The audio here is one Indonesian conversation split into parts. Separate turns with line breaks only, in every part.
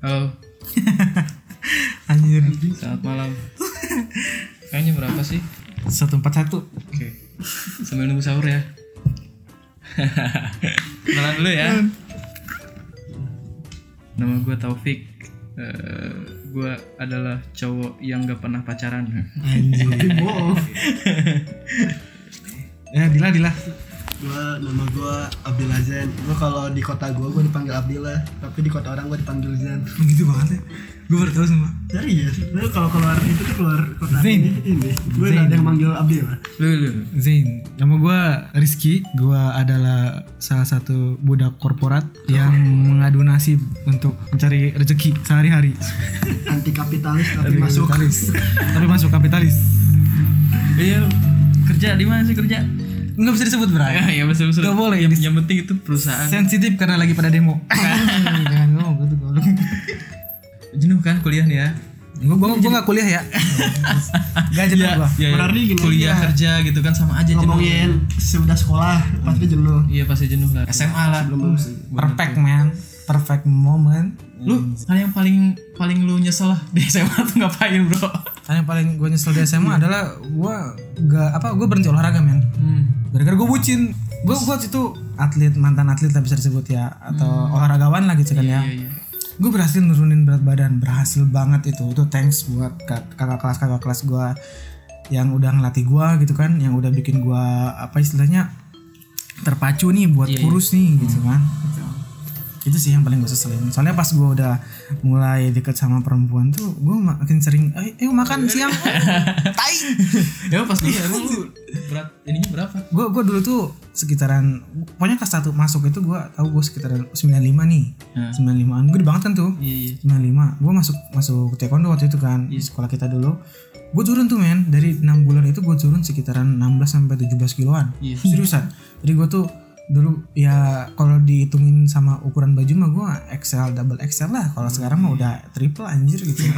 Halo,
Anjir.
selamat malam. Kayaknya berapa sih?
141.
Oke. Sambil nunggu sahur ya. Kenalan dulu ya. Nama gue Taufik. Eh, gue adalah cowok yang gak pernah pacaran.
Anjir. ya, Dila, Dila.
gua nama gua Abdul Azan gua kalau di kota gua gua dipanggil Abdul lah tapi di kota orang gua dipanggil Zan
Begitu banget ya. Gue baru tahu semua.
serius lu kalau keluar itu tuh keluar kota
Zain.
ini ini gua udah ada yang manggil Abdul lah
Lu, lu.
Zain, nama gue Rizky. Gue adalah salah satu budak korporat yang mengadu nasib untuk mencari rezeki sehari-hari.
anti kapitalis tapi masuk
kapitalis. Tapi masuk kapitalis.
Iya, kerja di mana sih kerja?
Nggak bisa disebut berarti.
Ya, ya betul betul.
Nggak boleh,
Yang,
dis-
yang penting itu perusahaan.
Sensitif karena lagi pada demo. Jangan ngomong gitu goblok.
Jenuh kan kuliah nih ya?
Gue gue nggak kuliah ya. Gak jenuh
Ya,
gua.
ya, ya.
Berarti gini
kuliah
aja.
kerja gitu kan sama aja jenuh.
ngomongin sudah sekolah pasti jenuh
Iya pasti jenuh lah. SMA lah.
belum lulus
Perfect man, perfect moment.
Lu hal yang paling paling lu nyesel lah di SMA tuh ngapain bro?
Hal yang paling gue nyesel di SMA adalah gue gak apa gue berhenti olahraga men.
Hmm.
Gara-gara gue bucin. Gue gue itu atlet mantan atlet lah bisa disebut ya atau olahragawan lah gitu kan ya.
Hmm. Iya, iya.
Gue berhasil nurunin berat badan, berhasil banget itu. Itu thanks buat kak- kakak kelas kakak kelas gue yang udah ngelatih gue gitu kan, yang udah bikin gue apa istilahnya terpacu nih buat
Iya,
kurus nih gitu
Hmm.
kan. Gitu. Itu sih yang paling gue seselin. Soalnya pas gue udah mulai deket sama perempuan tuh, gue makin sering, eh, yuk makan
Iya.
siang, tai.
Ya pas dulu emang lu berat ininya berapa?
Gue gue dulu tuh sekitaran, pokoknya kelas 1 masuk itu gue tahu gue sekitaran 95 nih,
Hmm.
95an gede banget kan tuh.
Iya iya.
95 gue masuk masuk taekwondo waktu itu kan di sekolah kita dulu gue turun tuh men dari enam bulan itu gue turun sekitaran 16 sampai 17 kiloan
Iya.
seriusan jadi gue tuh dulu ya kalau dihitungin sama ukuran baju mah gue XL double XL lah kalau sekarang mah udah triple anjir gitu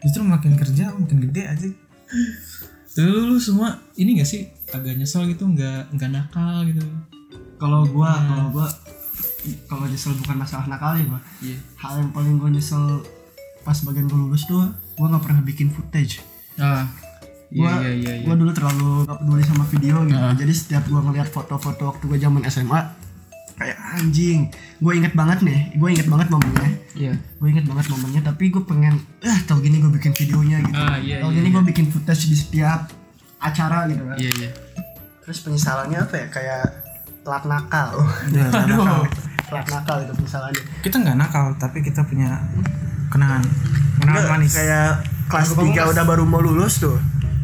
justru makin kerja makin gede aja
Lu, lu semua ini gak sih agak nyesel gitu nggak nggak nakal gitu?
kalau gua kalau gua kalau nyesel bukan masalah nakal ya gua
Iya.
hal yang paling gua nyesel pas bagian gua lulus tuh gua nggak pernah bikin footage
Ah. Iya
gua,
iya iya. iya.
gua dulu terlalu gak peduli sama video gitu jadi setiap gua ngeliat foto-foto waktu gua zaman SMA kayak anjing gue inget banget nih gue inget banget momennya
Iya.
gue inget banget momennya tapi gue pengen ah tau gini gue bikin videonya gitu
Ah, iya,
tau
iya,
gini gue bikin footage di setiap acara gitu kan
Iya iya.
terus penyesalannya apa ya kayak telat nakal
Ya, telat nakal.
telat Oh, iya, nakal itu penyesalannya
kita nggak nakal tapi kita punya kenangan kenangan
Enggak,
manis
kayak kelas 3 udah baru mau lulus tuh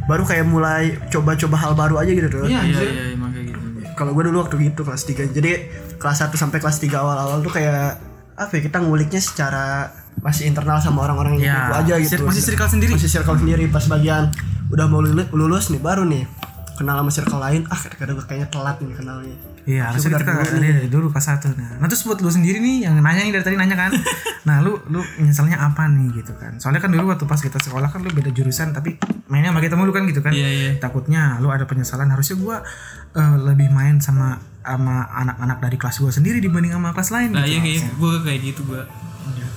baru kayak mulai coba-coba hal baru aja gitu tuh
Iya,
Iya
anjir.
iya emang kayak gitu.
kalau gue dulu waktu gitu kelas 3 jadi kelas 1 sampai kelas 3 awal-awal tuh kayak apa ya kita nguliknya secara masih internal sama orang-orang
Ya,
yang gitu aja gitu
masih circle sendiri.
masih circle sendiri pas bagian udah mau lulu- lulus nih baru nih kenal sama circle lain ah kadang-kadang gue kayaknya telat nih kenalnya
Iya, harusnya
Sebentar
kita
dulu
ada dari dulu pas satu. Nah, nah terus buat lu sendiri nih yang nanya nih dari tadi nanya kan. nah, lu lu nyeselnya apa nih gitu kan. Soalnya kan dulu waktu pas kita sekolah kan lu beda jurusan tapi mainnya sama kita mulu kan gitu kan.
Iya iya.
Takutnya lu ada penyesalan harusnya gua eh, lebih main sama sama anak-anak dari kelas gua sendiri dibanding sama kelas lain
Nah iya
gitu.
kayak gue kayak gitu gue.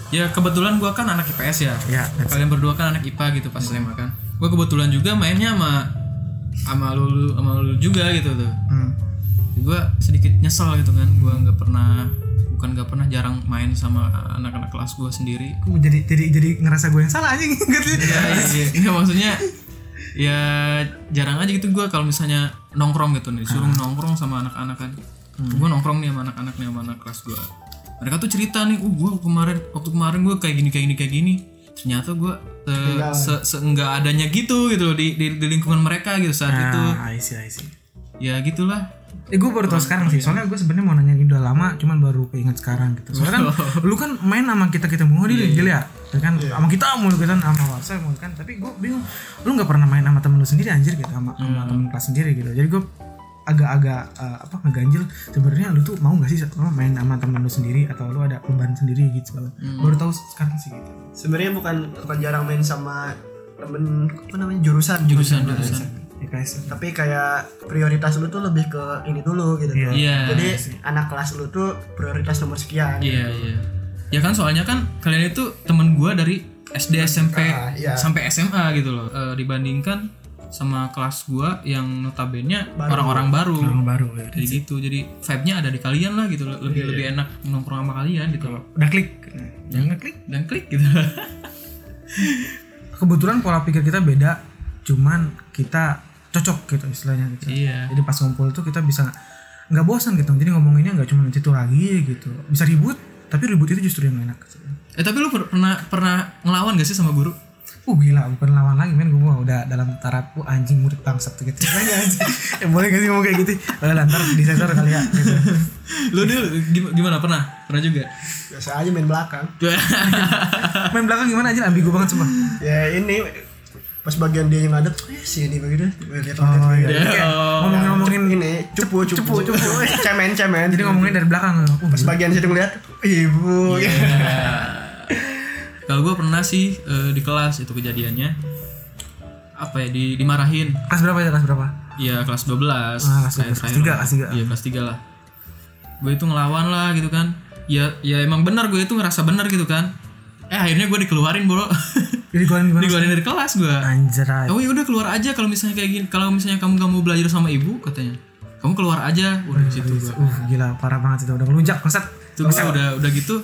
Ya kebetulan gue kan anak IPS ya.
Ya, that's-
Kalian berdua kan anak IPA gitu pas SMA kan. Gue kebetulan juga mainnya sama sama lulu sama lulu juga gitu tuh.
Hmm.
Gue sedikit nyesel gitu kan. Gue nggak pernah bukan nggak pernah jarang main sama anak-anak kelas gue sendiri.
Gua jadi jadi jadi ngerasa gue yang salah anjing gitu.
Ya, iya, iya. maksudnya ya jarang aja gitu gue kalau misalnya nongkrong gitu nih disuruh nongkrong sama anak-anak kan gue nongkrong nih sama anak-anak nih sama anak kelas gue mereka tuh cerita nih uh gue kemarin waktu kemarin gue kayak gini kayak gini kayak gini ternyata gue se, se, se enggak adanya gitu gitu di, di, di lingkungan mereka gitu saat itu
Nah, I see, I see.
ya gitulah
Eh gue baru tau sekarang sih, soalnya gue sebenarnya mau nanya ini udah lama, cuman baru keinget sekarang gitu. Soalnya kan lu kan main sama kita kita mulu di Gil ya, Ya kan sama kita mulu kita sama Warsa mulu kan, tapi gue bingung lu nggak pernah main sama temen lu sendiri anjir gitu sama, sama temen kelas sendiri gitu. Jadi gue agak-agak eh, apa ngeganjil sebenarnya lu tuh mau nggak sih sama main sama temen lu sendiri atau lu ada beban sendiri gitu baru tahu sekarang sih gitu
sebenarnya bukan bukan jarang main sama temen apa namanya jurusan
jurusan jurusan
ya guys
tapi kayak prioritas lu tuh lebih ke ini dulu gitu
Iya.
iya
jadi anak kelas lu tuh prioritas nomor sekian
iya iya ya kan soalnya kan kalian itu temen gua dari SD SMP
Ah, iya.
sampai SMA gitu loh Eh, dibandingkan sama kelas gua yang notabene orang-orang baru
orang baru ya.
jadi gitu jadi vibe-nya ada di kalian lah gitu loh. lebih lebih enak nongkrong sama kalian gitu loh
udah klik jangan ngeklik
dan klik gitu
kebetulan pola pikir kita beda cuman kita cocok gitu istilahnya gitu
iya
jadi pas ngumpul tuh kita bisa nggak bosan gitu jadi ngomonginnya nggak cuma itu lagi gitu bisa ribut tapi ribut itu justru yang enak gitu.
eh tapi lu per- pernah pernah ngelawan gak sih sama guru
Uh gila bukan lawan lagi men gue udah dalam taraf "Wah, anjing murid bangsat tuh gitu. Aja, anjing. Eh, boleh gak sih ngomong kayak gitu? Udah lah, ntar di sensor kali ya. Gitu.
lu dia gimana pernah pernah juga
biasa aja main belakang
Main belakang gimana aja ambigu banget semua.
ya ini pas bagian dia yang ada eh sini begitu lihat
Oh
lihat
Ya,
iya. Ngomongin ngomongin
ini cupu cupu cupu cemen cemen
jadi ngomongin dari belakang. Uh,
pas bagian situ ngeliat ibu
Kalau gue pernah sih eh, di kelas itu kejadiannya apa ya di, dimarahin
kelas berapa ya kelas berapa?
ya kelas 12
Ah, kelas
saya-
12, kelas
saya-
tiga, kelas tiga.
iya kelas 3 lah gue itu ngelawan lah gitu kan ya ya emang benar gue itu ngerasa benar gitu kan eh akhirnya gue dikeluarin bro
Jadi gue gimana?
dikeluarin dari kelas gue
Anjay.
oh ya udah keluar aja kalau misalnya kayak gini kalau misalnya kamu gak mau belajar sama ibu katanya kamu keluar aja udah di situ gue
Uh gila parah banget itu udah ngelunjak bangsat.
itu gue udah udah gitu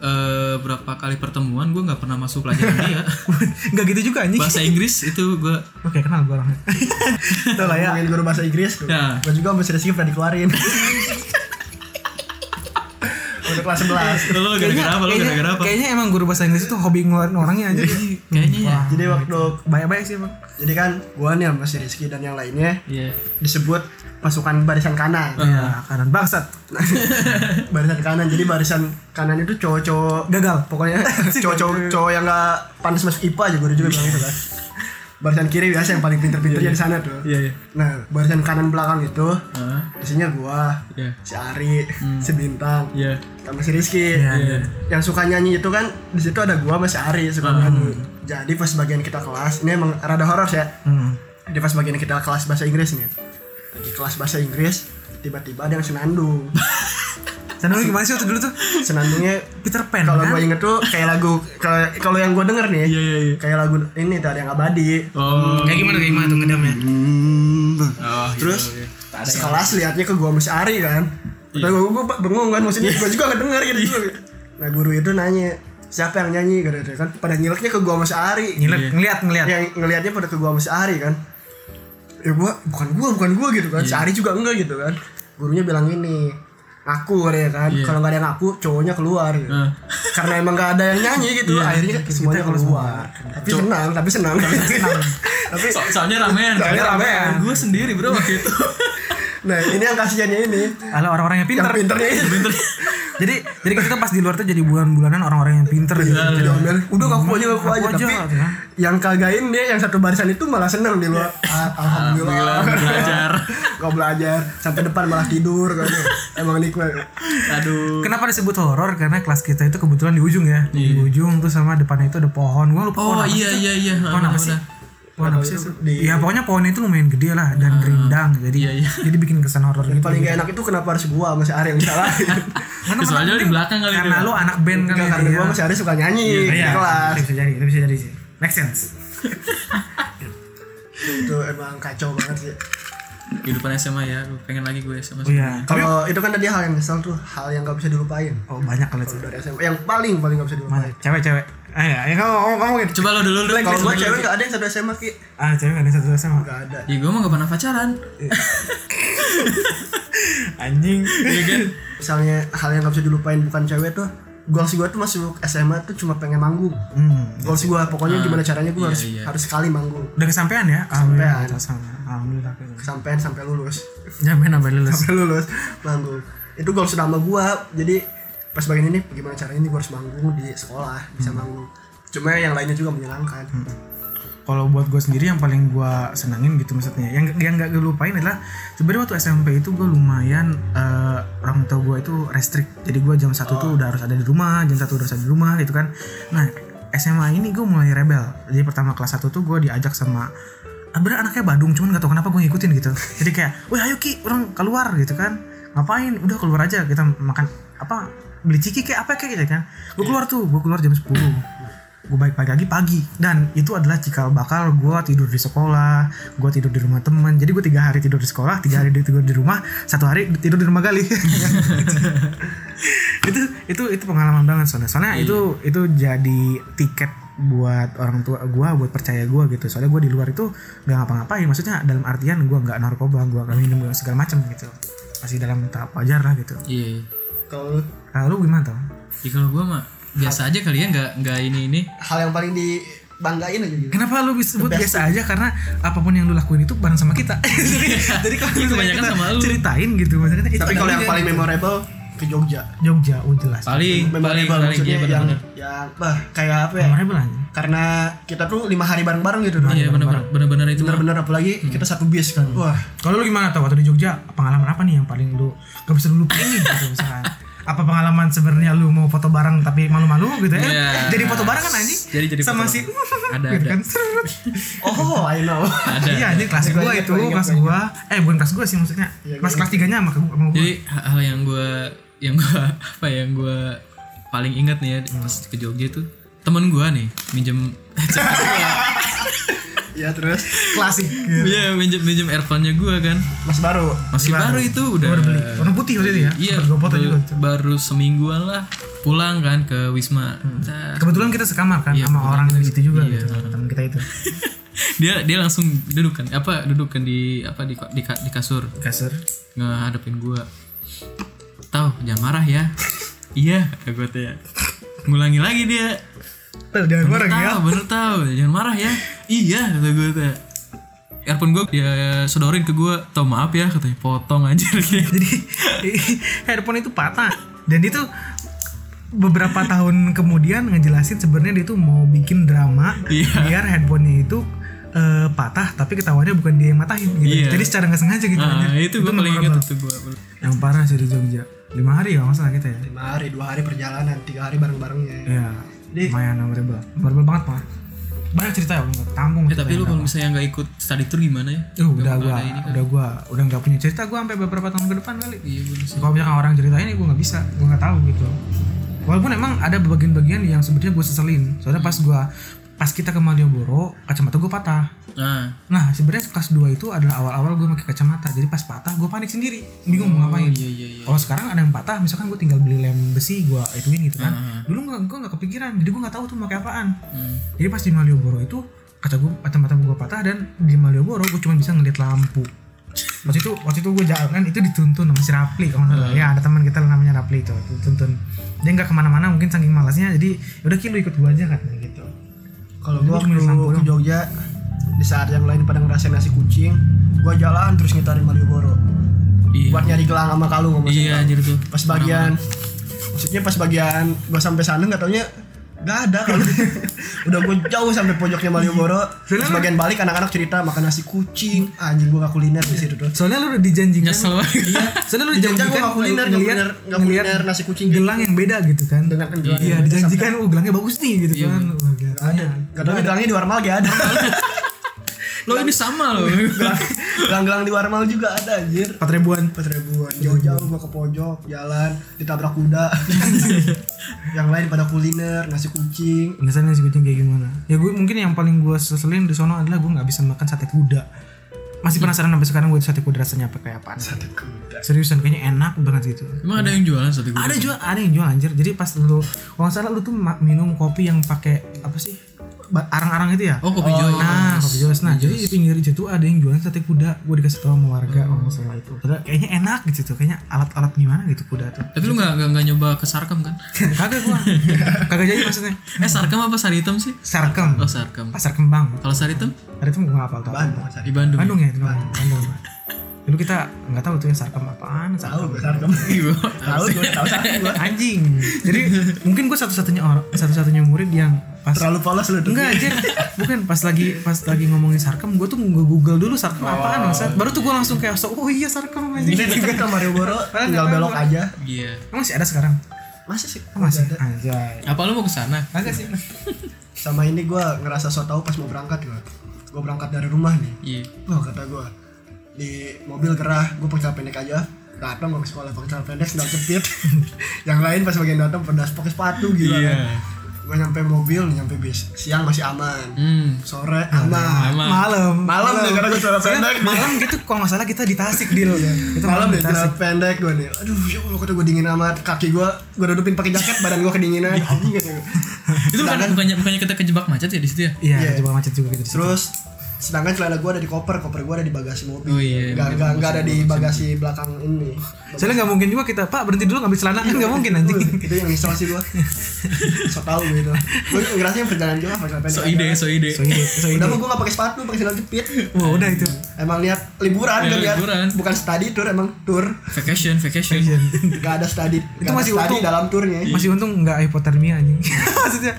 eh, berapa kali pertemuan gue nggak pernah masuk pelajaran dia
Enggak gitu juga anjing.
bahasa Inggris itu gue
Oke, kenal gue orangnya. Itu lah ya.
ngomongin guru bahasa Inggris gue
Ya.
Gitu Gua juga sama si Rizky pernah dikeluarin udah kelas 11
Lo gara-gara apa? Lo
Kayaknya-
gara-gara apa?
Kayaknya emang guru bahasa Inggris itu hobi ngeluarin orangnya aja.
Kayaknya ya.
jadi waktu
Banyak-banyak sih, Bang.
jadi kan gua nih sama si Rizky dan yang lainnya
Iya.
disebut pasukan barisan kanan
Iya, kanan bangsat.
barisan kanan jadi barisan kanan itu cowok-cowok
Gagal.
pokoknya cowok-cowok cowok yang gak panas masuk IPA aja gue juga bilang gitu kan barisan kiri biasa yang paling pinter-pinternya di sana tuh
Iya, iya.
nah barisan kanan belakang itu
Hah?
isinya gua
Iya.
si Ari si Bintang
Iya.
sama si Rizky
Iya, iya.
yang suka nyanyi itu kan di situ ada gua sama si Ari
Hmm.
suka nyanyi jadi pas bagian kita kelas ini emang rada horor sih ya
Hmm.
di pas bagian kita kelas bahasa Inggris nih di kelas bahasa Inggris tiba-tiba ada yang senandung
Senang gimana sih waktu dulu tuh?
senandungnya
Peter Pan
kalau
kan?
gue inget tuh kayak lagu kalau kalau yang gue denger
Iya,
nih
iya, iya.
kayak lagu ini tuh ada yang abadi
Oh.
Kayak gimana kayak gimana tuh ngedamnya?
Oh,
terus sekelas liatnya ke gua Mas Ari kan
Iya.
Terus gue, gue bengong kan maksudnya gue juga gak denger gitu nah guru itu nanya siapa yang nyanyi gitu kan pada nyileknya ke gua Mas Ari
Ngeliat, ngeliat, ngeliat.
yang ngelihatnya pada ke gua sama si Ari kan ya gua bukan gua bukan gua gitu kan si Ari juga enggak gitu kan gurunya bilang ini aku ya kan kalau nggak ada yang aku cowoknya keluar gitu.
Heeh.
karena emang nggak ada yang nyanyi gitu akhirnya semuanya keluar tapi senang tapi senang tapi senang tapi
So soalnya ramen.
Soalnya ramean.
Gue sendiri bro waktu itu.
nah ini yang kasihannya ini
Ala orang-orang yang
yang
pinter.
pinternya ini
jadi jadi kita tuh pas di luar tuh jadi bulan-bulanan orang-orang yang pinter gitu.
Jadi ngomel, Iya, udah ngaku aja ngaku aja
Ngaku aja,
tapi
ya.
yang kagain dia yang satu barisan itu malah seneng di
Iya.
luar Ah, alhamdulillah
Belajar.
Gak belajar sampai depan malah tidur kan emang nikmat
Aduh.
Kenapa disebut horor? Karena kelas kita itu kebetulan di ujung ya. Di ujung tuh sama depannya itu ada pohon. Gua lupa
Oh
pohon apa sih
iya
tuh.
iya iya.
Pohon apa sih?
Udah.
Pohon apa sih? Ya pokoknya pohonnya itu lumayan gede lah dan rindang. Jadi
Iya, iya.
jadi bikin kesan horor
yang
gitu.
paling gak enak itu kenapa harus gua sama si Ari yang salah
Karena-
Soalnya di belakang kali
Karena
itu.
lu anak band kan
Enggak,
ya,
karena
iya.
gua sama si Ari suka nyanyi di
Iya,
kelas
itu bisa jadi, itu bisa jadi sih. Make sense.
itu emang kacau banget sih
Kehidupan SMA ya. Gue pengen lagi gue SMA.
Oh iya.
kalau itu kan tadi hal yang kesel tuh hal yang gak bisa dilupain
Oh banyak kalau itu.
Kalau dari SMA yang paling paling gak bisa dilupain
Cewek-cewek. Ah ya, ya kamu ngomong ngomongin.
Coba lo dulu dulu.
kalau
Coba
gua
dulu.
cewek gak ada yang satu SMA ki
Ah cewek gak ada satu sama.
gak ada
Ya gue mah gak pernah pacaran.
Anjing.
Iya kan?
misalnya hal yang gak bisa dilupain bukan cewek tuh goals gua tuh masuk SMA tuh cuma pengen manggung
Hmm.
goals gua pokoknya gimana caranya gua harus
iya.
harus sekali manggung
Udah kesampean ya? Alhamdulillah. Kesampean. Alhamdulillah. gitu.
sampai sampai lulus
Jamin sampai lulus.
sampai lulus manggung itu goals utama gua jadi pas bagian ini gimana caranya nih gua harus manggung di sekolah bisa
Hmm.
manggung cuma yang lainnya juga menyenangkan
Kalau buat gue sendiri yang paling gue senengin gitu maksudnya, yang yang gak gue lupain adalah sebenarnya waktu SMP itu gue lumayan eh, orang tua gue itu restrik, jadi gue jam satu tuh udah harus ada di rumah, jam satu udah harus ada di rumah gitu kan. Nah SMA ini gue mulai rebel, jadi pertama kelas 1 tuh gue diajak sama Bener anaknya Badung cuman gak tau kenapa gue ngikutin gitu Jadi kayak Wah ayo Ki orang keluar gitu kan Ngapain udah keluar aja kita makan apa beli ciki kayak apa kayak gitu kan gue keluar tuh gue keluar jam 10 gue balik pagi lagi pagi dan itu adalah cikal bakal gue tidur di sekolah gue tidur di rumah temen jadi gue tiga hari tidur di sekolah tiga hari tidur di rumah satu hari tidur di rumah gali itu itu itu pengalaman banget soalnya soalnya itu itu jadi tiket buat orang tua gua buat percaya gua gitu soalnya gua di luar itu nggak ngapa-ngapain maksudnya dalam artian gua nggak narkoba gua nggak minum nggak segala macam gitu masih dalam tahap wajar lah gitu
Iya.
Kalau lu,
lalu gimana tuh
Ya kalau gua mah biasa aja kali ya nggak nggak ini ini.
hal yang paling dibanggain aja gitu.
kenapa lu bisa sebut biasa aja karena apapun yang lu lakuin itu bareng sama kita jadi, jadi kalau
Ini
misalnya
kebanyakan
kita
sama lu.
ceritain gitu maksudnya itu
Tapi
ada
kalau
aja.
yang paling memorable ke Jogja.
Jogja oh jelas
Paling paling
Memorable
paling
maksudnya
iya
yang
benar-benar. Hmm.
yang bah kayak apa ya?
memorable aja
Karena kita tuh lima hari bareng-bareng gitu. Dong.
Iya benar-benar benar-benar itu. mah.
Bener-bener
Hmm.
apalagi kita satu bis kan. Wah,
kalau lu gimana tuh waktu di Jogja pengalaman apa nih yang paling lu gak bisa lu lupain gitu misalkan apa pengalaman sebenarnya lu mau foto bareng tapi malu-malu gitu ya
Iya.
jadi foto bareng kan anjing
Jadi jadi
sama
foto
si
bareng. Ada,
gitu
ada.
kan
oh, I know.
Ada.
iya anjing kelas gua itu kelas gua eh bukan kelas gua sih maksudnya kelas kelas tiganya sama ke- sama gua
Jadi hal yang gue yang gue apa ya, yang gue paling ingat nih ya
Hmm.
pas ke Jogja itu temen gue nih minjem
ya terus klasik.
gitu.
iya minjem minjem earphone-nya gue kan
Mas baru.
masih baru, itu udah
baru beli warna putih waktu itu ya
iya
Sempet gua foto
baru,
juga
baru semingguan lah pulang kan ke Wisma
Hmm.
Nah,
kebetulan kita sekamar
Iya,
kan sama orang itu juga gitu teman kita itu
dia dia langsung duduk kan apa duduk kan di apa di di, ka- di kasur
kasur
ngehadapin gua tahu jangan marah ya iya kata gue teh ngulangi lagi dia
Tuh, jangan
Bener
bareng ya
tahu, bener tahu. Jangan marah ya. iya, kata gue tuh. Earphone gue dia sodorin ke gue, tau maaf ya katanya potong aja.
jadi handphone itu patah dan itu beberapa tahun kemudian ngejelasin sebenarnya dia itu mau bikin drama
Iya.
biar handphonenya itu eh, patah tapi ketahuannya bukan dia yang matahin
Iya.
gitu jadi secara nggak sengaja gitu
nah,
anjir.
itu gue paling inget itu
memorable.
gue.
yang parah sih di Jogja lima hari ya masalah kita ya
Lima hari, dua hari perjalanan, tiga hari bareng-barengnya.
ya lumayan memorable memorable banget malah banyak cerita ya nggak tampung
Eh tapi lu kalau misalnya nggak ikut study tour gimana ya?
Eh, udah gua udah gua udah nggak punya cerita gua sampai beberapa tahun ke depan kali
Iya bener sih.
kalau misalkan orang ceritain ya gue nggak bisa gue nggak tahu gitu walaupun emang ada bagian-bagian yang sebetulnya gue seselin soalnya pas gue pas kita ke Malioboro kacamata gue patah
Nah,
nah sebenarnya kelas 2 itu adalah awal-awal gue pakai kacamata jadi pas patah gue panik sendiri bingung mau ngapain
iya iya iya.
kalau sekarang ada yang patah misalkan gue tinggal beli lem besi gue ituin gitu kan dulu gue gue nggak kepikiran jadi gue nggak tahu tuh mau pakai apaan
Hmm.
jadi pas di Malioboro itu kaca gue kacamata gue patah dan di Malioboro gue cuma bisa ngeliat lampu waktu itu waktu itu gue jalan kan, itu dituntun sama si Rapli kalau nggak
Hmm.
salah ya ada teman kita namanya Rapli itu dituntun dia nggak kemana-mana mungkin saking malasnya jadi "Ya udah ki lu ikut gue aja katanya gitu
Kalau gua
Jadi cuma disampo
waktu ke
doang.
Jogja di saat yang lain pada ngerasain nasi kucing, gua jalan terus ngitarin Malioboro.
Iya.
Buat nyari gelang sama kalung sama
Iya
sendal.
anjir tuh.
Pas bagian maksudnya pas bagian gua sampai sana nggak taunya Gak ada kalau udah gua jauh sampai pojoknya Malioboro.
Iya.
Terus bagian balik anak-anak cerita makan nasi kucing. Anjing gua gak kuliner di situ tuh.
soalnya lu udah dijanjikan
Nyesel banget.
iya soalnya lu
Di Jogja
dijanjikan
gua gak kuliner, nggak
ngeliat-
kuliner, nggak
ngeliat
kuliner nasi kucing.
gelang yang beda gitu kan
Dengan
iya
gelang yang Iya. beda
dijanjikan oh gelangnya bagus nih gitu kan Wah, kelihatannya.
Gak tau gelangnya di Warmal gak ada.
Lo ini sama lo.
Gelang-gelang di Warmal juga ada anjir.
empat ribuan
pas ribuan jauh-jauh gua ke pojok jalan ditabrak kuda yang lain pada kuliner nasi kucing
Biasanya nasi kucing kayak gimana? Ya gue mungkin yang paling gue seselin di sono adalah gue nggak bisa makan sate kuda.
Iya.
Masih penasaran sampai sekarang gue sate kuda rasanya apa kayak apaan?
satu kuda
Seriusan kayaknya enak banget gitu.
Emang ada yang jualan satu gue.
Ada juga ada yang jual anjir. Jadi pas lu kalau nggak salah lu tuh ma- minum kopi yang pakai apa sih? Ba- Arang-arang itu ya?
Oh kopi jualan.
Nah, kopi Jos. Nah, jadi di pinggir itu tuh ada yang jualan sate kuda. Gue dikasih tahu sama warga
Hmm.
oh. masalah itu. Padahal kayaknya enak gitu. Kayaknya alat-alat gimana gitu kuda tuh.
Tapi lu nggak nggak nggak nyoba ke sarkam kan?
Kagak gua. Kagak jadi maksudnya.
Eh sarkam apa sari hitam sih?
Sarkem.
Oh sarkam.
Pasar Kembang.
Kalau sari hitam
Ada tuh gue hafal tau.
ban mas
di Bandung.
Bandung ya itu Bandung. Bandung. Dulu kita nggak tahu tuh yang sarkem apaan,
tahu
sarkem.
gue sarkem tahu gue tahu sarkem gua.
Anjing. Jadi mungkin gue satu-satunya orang, satu-satunya murid yang pas
terlalu polos lu tuh
enggak aja bukan pas lagi pas lagi ngomongin sarkem gue tuh nge google dulu sarkem apaan maksud baru tuh gue langsung kayak so oh iya sarkem aja
ini dekat ke Malioboro tinggal belok aja
Iya.
emang masih ada sekarang
masih sih
Oh, masih anjay
Apa lu mau ke sana?
kagak sih
sama ini gua ngerasa so tau pas mau berangkat gua gua berangkat dari rumah nih
Iya.
wah kata gua di mobil gerah gua pakai HP nek aja datang gue ke sekolah pakai celana pendek sendal jepit yang lain pas bagian datang pedas pakai sepatu gitu
Iya.
gue nyampe mobil nyampe bis siang masih aman
Hmm.
sore aman
Aman.
malam
malam nih karena gue celana
Soalnya
pendek
malam gitu kalau nggak salah kita di Tasik deal itu
malam ya,
malam
deh
di Tasik
celana pendek gue nih aduh ya allah kata gue dingin amat kaki gue gue dudupin pakai jaket badan gue kedinginan anjing kata gua.
Itu bukan
Sedangkan-
bukannya bukannya kita kejebak macet ya di situ ya?
Iya.
iya coba macet juga gitu
terus sedangkan celana gue ada di koper koper gue ada di bagasi mobil
Oh iya, mungkin
nggak nggak
bagus,
nggak ada di bagasi belakang ini
soalnya nggak mungkin juga kita pak berhenti dulu ngambil celana kan nggak mungkin anjing
itu yang nyesel sih gue so tau gitu gue ngerasa perjalanan gue apa sampai
So ide, so ide.
so ide so ide
kan. udah mah gue gak pakai sepatu pakai sandal jepit
wah udah itu
emang lihat liburan
Iya,
kan lihat
liburan.
bukan study tour emang tour
Vacation, vacation.
gak ada study
Itu
gak
masih Iya.
ada study
utuh.
dalam tournya
masih untung nggak hipotermia anjing maksudnya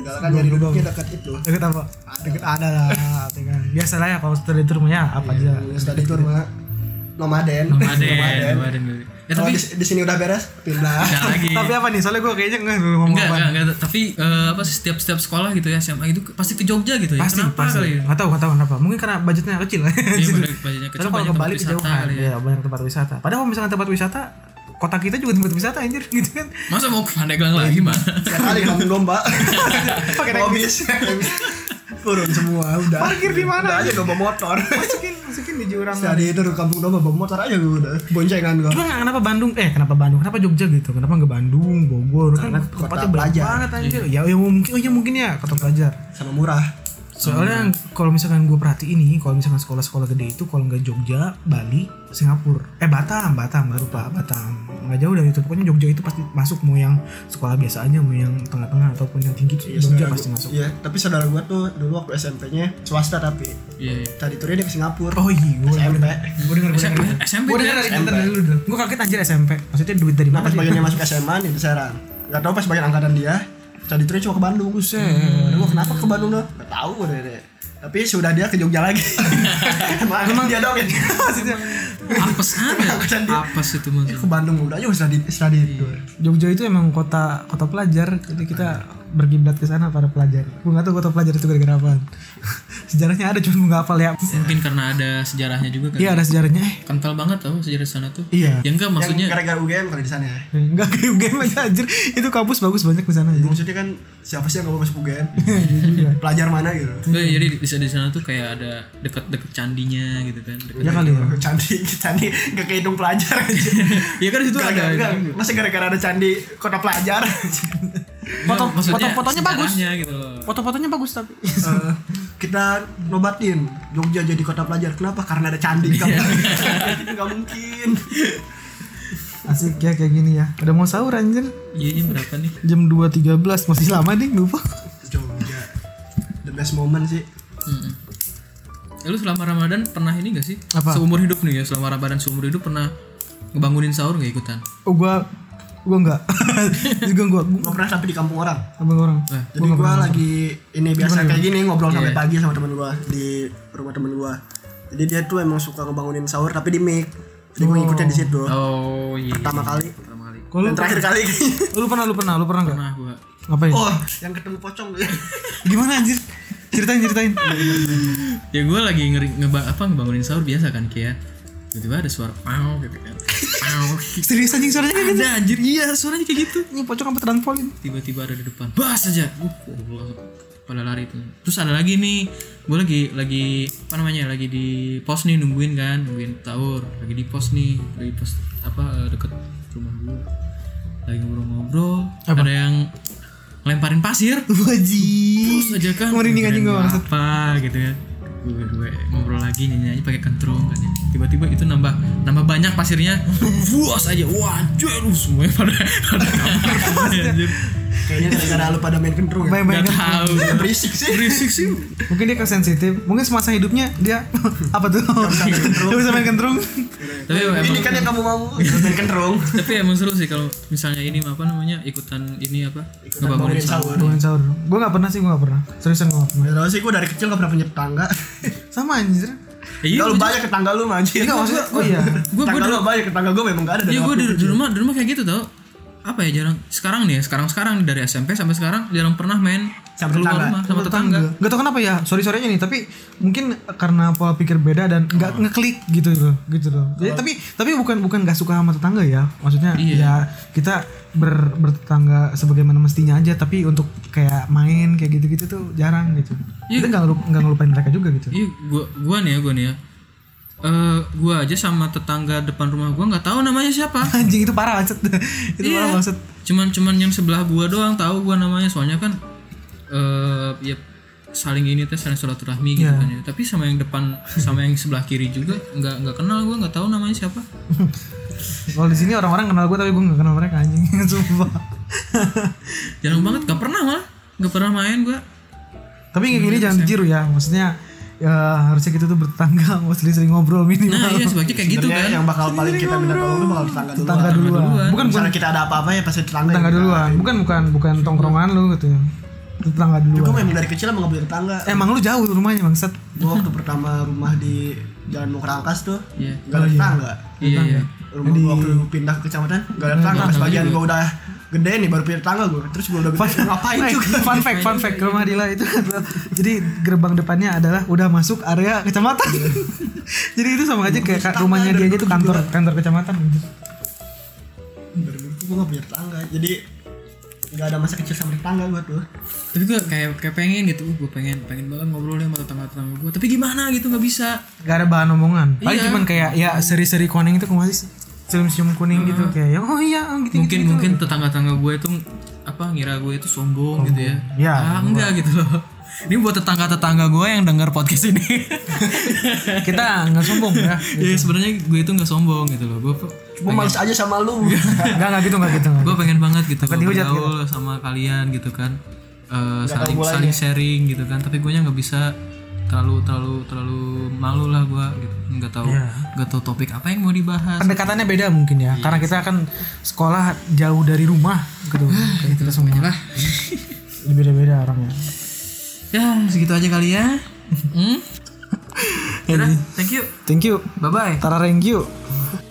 Enggak kan dari
Belum, belum.
duduknya dekat itu
deket apa deket ada lah dengan biasa lah ya kalau study tour mah ya apa aja
study tour mah nomaden
Nomaden, nomaden. Ya
kalau
tapi
di, di sini udah beres
ada
Iya.
pindah
lagi.
tapi apa nih soalnya gue kayaknya nggak dulu ngomong
Enggak,
apa
enggak, enggak. Tapi eh, apa sih setiap setiap sekolah gitu ya SMA itu ke- pasti ke Jogja gitu ya.
pasti
Kenapa kali? ya?
pasti nggak tahu nggak tahu kenapa mungkin karena budgetnya kecil
Iya, bener, budgetnya kecil,
Soalnya kalau
banyak
ke
tempat
Bali
wisata
kejauhan
kali ya.
ya banyak tempat wisata padahal kalau misalnya tempat wisata kota kita juga tempat wisata anjir gitu kan
Masa mau ke Pandeglang lagi, mah?
Setiap kali kambing domba
Pakai naik
Mau habis habis. turun semua udah
Parkir di mana?
Udah aja gue bawa motor
masukin masukin di jurang
study tour ke kampung domba bawa motor aja gue udah boncengan gue
Cuma nggak- kenapa Bandung? Eh kenapa Bandung? Kenapa Jogja gitu? Kenapa nggak Bandung, Bogor? Kan tempatnya
kota
banyak
pelajar.
banget anjir. Ya, ya mungkin, oh ya mungkin ya kota pelajar.
sama murah
Soalnya
Hmm.
yang- kalau misalkan gue perhatiin nih, kalau misalkan sekolah-sekolah gede itu kalau nggak Jogja, Bali, Singapura, eh Batam, Batam baru pak, Batam nggak jauh dari itu. Pokoknya Jogja itu pasti masuk mau yang sekolah biasa aja, mau yang tengah-tengah ataupun yang tinggi
Iya,
Jogja
saudara
pasti
gua-
masuk.
Iya, tapi saudara gua tuh dulu waktu SMP-nya swasta tapi
Iya. iya.
tadi turnya dia ke Singapura.
Oh iya, gue Gue
SMP.
denger, gue denger.
SMP
Gue denger
dia-
dari bentar dulu dulu. Gue kaget anjir SMP. Maksudnya duit dari
Nah,
mana?
pas
sih?
bagiannya masuk SMA nih di Serang. Gak tau pas bagian angkatan dia, tadi turnya cuma ke Bandung. Buset. Gua kenapa ke Bandung lo? Gak tau gue deh. Tapi sudah dia ke Jogja lagi. Emang emang dia dong ya. Maksudnya
apes aja.
Angkatan dia.
apes itu maksudnya.
ke Bandung udah aja study study
Iya.
tour.
Jogja itu emang kota kota pelajar. Jadi kita berkiblat ke sana para pelajar. Gue nggak tahu kota pelajar itu gara-gara apa. Sejarahnya ada cuma gue nggak hafal ya.
Mungkin karena ada sejarahnya juga kan.
Iya ada sejarahnya. Eh
Kental banget tau sejarah sana tuh.
Iya.
Ya enggak
Yang
maksudnya
gara-gara UGM kalau di sana ya.
Enggak kayak UGM aja anjir. Itu kampus bagus banyak di sana anjir.
Maksudnya kan siapa sih yang gak mau masuk UGM?
Iya.
Pelajar mana gitu?
Nggak, ya, jadi di, di sana tuh kayak ada dekat-dekat candinya gitu kan.
Iya.
Deket.
Ya kali ya.
Candi, candi gak kehitung pelajar aja.
Iya kan di situ ada.
gara-gara enggak, masa gara-gara ada candi kota pelajar
Foto- foto-fotonya bagus.
sejarahnya gitu loh.
Foto-fotonya bagus tapi.
Eh, kita nobatin Jogja jadi kota pelajar kenapa karena ada candi Nggak
Iya.
mungkin. nggak mungkin
Asik ya kayak gini ya. Udah mau sahur anjir.
Iya, ini berapa nih?
Jam 2.13 masih lama ding lupa.
Jogja the best moment sih
Mm-mm. Ya, lu selama Ramadan pernah ini gak sih?
Apa?
Seumur hidup nih ya, selama Ramadan seumur hidup pernah ngebangunin sahur gak ikutan?
Oh gua gua enggak. Juga gua gua
gue pernah sampai di kampung orang
abang orang.
Eh,
jadi gue lagi ini biasa kayak gini ngobrol
Iya.
sampai pagi sama temen gue di rumah temen gue jadi dia tuh emang suka ngebangunin sahur tapi di mic jadi gue ngikutin di situ
Oh iya.
pertama kali
Pertama kali.
Kalau
dan
lu-
terakhir kali
lu pernah lu pernah lu pernah enggak?
Pernah gua.
Ngapain?
oh yang ketemu pocong
Gimana anjir? Ceritain ceritain.
ya gue lagi ngeri ngeba apa ngebangunin sahur biasa kan Kia tiba-tiba ada suara pau gitu kan pau
Serius anjing suaranya kayak gitu.
ada anjir iya suaranya kayak gitu
Ini pocong apa trampolin?
tiba-tiba ada di depan bas aja uh, gua langsung pada lari tuh terus ada lagi nih gue lagi lagi apa namanya lagi di pos nih nungguin kan nungguin taur lagi di pos nih lagi di pos apa eh, deket rumah gue lagi ngobrol-ngobrol ada yang ngelemparin pasir
Wajib.
terus aja kan
Merinding anjing gua,
mikirin
maksud.
apa gitu kan gue gue ngobrol lagi nyanyi nyanyi pakai kentrung kan ya. tiba-tiba itu nambah nambah banyak pasirnya buas aja wah anjir lu semuanya pada pada anjir
kayaknya gara-gara lu pada main kendrung ya?
nggak
Bayang-bayang
tahu
Eh, berisik sih
berisik sih
Mungkin dia kesensitif. Mungkin semasa hidupnya dia apa tuh? Gak bisa main kentrung.
tapi emang
ini kan yang kamu mau main kendrung
tapi emang seru sih kalau misalnya ini apa namanya ikutan ini apa ngebangunin
bangunin
sahur
sahur
Main sahur. Gue gak pernah sih, gue gak pernah. Seriusan gue gak pernah.
Gak tau sih gue dari kecil gak pernah punya tetangga
Sama anjir.
iya
Gak lu
gue
banyak tetangga lu mah anjir
Enggak maksudnya, oh iya.
gue
Tetangga lu banyak tetangga gue memang gak ada dari
iya gue di,
waktu
di rumah di rumah kayak gitu tau apa ya jarang sekarang nih ya, sekarang sekarang dari SMP sampai sekarang jarang pernah main
Sama
keluar
tetangga.
rumah sama tetangga.
Gak tau kenapa ya, sorry sorry nih, tapi mungkin karena pola pikir beda dan nggak ngeklik gitu loh, gitu loh. Jadi, tapi tapi bukan bukan nggak suka sama tetangga ya, maksudnya
Iya.
ya kita ber, bertetangga sebagaimana mestinya aja, tapi untuk kayak main kayak gitu-gitu tuh jarang gitu.
Iya.
Kita nggak ngelup- nggak ngelupain mereka juga gitu.
Iya, gua gua nih ya, gua nih ya. Eh, gua aja sama tetangga depan rumah gua nggak tahu namanya siapa.
Anjing itu parah maksud, itu
Iya.
parah maksud.
Cuman cuman yang sebelah gua doang tahu gua namanya soalnya kan eh ya saling ini teh saling silaturahmi gitu
Iya.
kan ya. Tapi sama yang depan sama yang sebelah kiri juga nggak nggak kenal gua nggak tahu namanya siapa.
Kalau di sini orang-orang kenal gue tapi gue nggak kenal mereka anjing, sumpah.
Jarang banget, nggak pernah malah. Nggak pernah main gua. Nah,
tapi kayak gini jangan ditiru ya, maksudnya ya, harusnya kita tuh bertetangga, mesti sering ngobrol minimal.
Nah, iya sebaiknya kayak gitu
Sebenarnya
kan.
yang bakal paling kita minta tolong tuh bakal tetangga dulu.
Iya, tetangga duluan. Bukan Iya. bukan
Misalnya kita ada apa-apa ya pasti tetangga.
tetangga duluan, bukan bukan bukan tongkrongan lu gitu. Tetangga
Gue
duluan.
memang dari kecil emang gak punya tetangga.
Emang lu jauh rumahnya bangsat.
Gue waktu pertama rumah di Jalan Mukrangkas tuh
Iya.
gak
Oh,
ada tetangga.
Iya,
ya.
iya.
Rumah gua waktu pindah ke kecamatan gak ada
Iya,
tetangga. Pas bagian gue udah gede nih baru punya tetangga gue. Terus gue udah gede ngapain juga.
Fun fact, fun fact rumah Dila itu adalah- jadi gerbang depannya adalah udah masuk area kecamatan. jadi itu sama aja kayak ka- rumahnya dia aja itu kantor kantor kecamatan gitu.
Gue gak punya tetangga. Jadi gak ada masa kecil sama tetangga gue tuh.
tapi gue kayak kayak pengen gitu uh, gue pengen pengen banget ngobrol sama tetangga tetangga gue tapi gimana gitu nggak bisa
Gak ada bahan omongan. Paling
Iya.
cuman kayak ya seri-seri kuning itu kemana sih? Film-film kuning gitu kayak ya, oh iya gitu.
mungkin mungkin tetangga tetangga gue itu apa ngira gue itu sombong gitu ya
Iya,
ah, enggak gitu loh ini buat tetangga tetangga gue yang denger podcast ini
Kita nggak sombong ya.
ya sebenarnya gue itu nggak sombong gitu loh gue
Gue males aja sama lu.
Enggak enggak gitu enggak gitu. nggak
gue pengen banget gitu gue
dihujat
bergaul sama kalian gitu kan Eh, saling saling sharing gitu kan tapi gue nya nggak bisa terlalu terlalu terlalu malu lah gue gitu nggak tahu
Iya.
nggak tahu topik apa yang mau dibahas
pendekatannya beda mungkin ya karena kita kan sekolah jauh dari rumah gitu kayak kita semua
lah
beda beda orangnya
ya segitu aja kali ya
Iya.
hmm? Yaudah, thank you
thank you
bye bye
tara thank you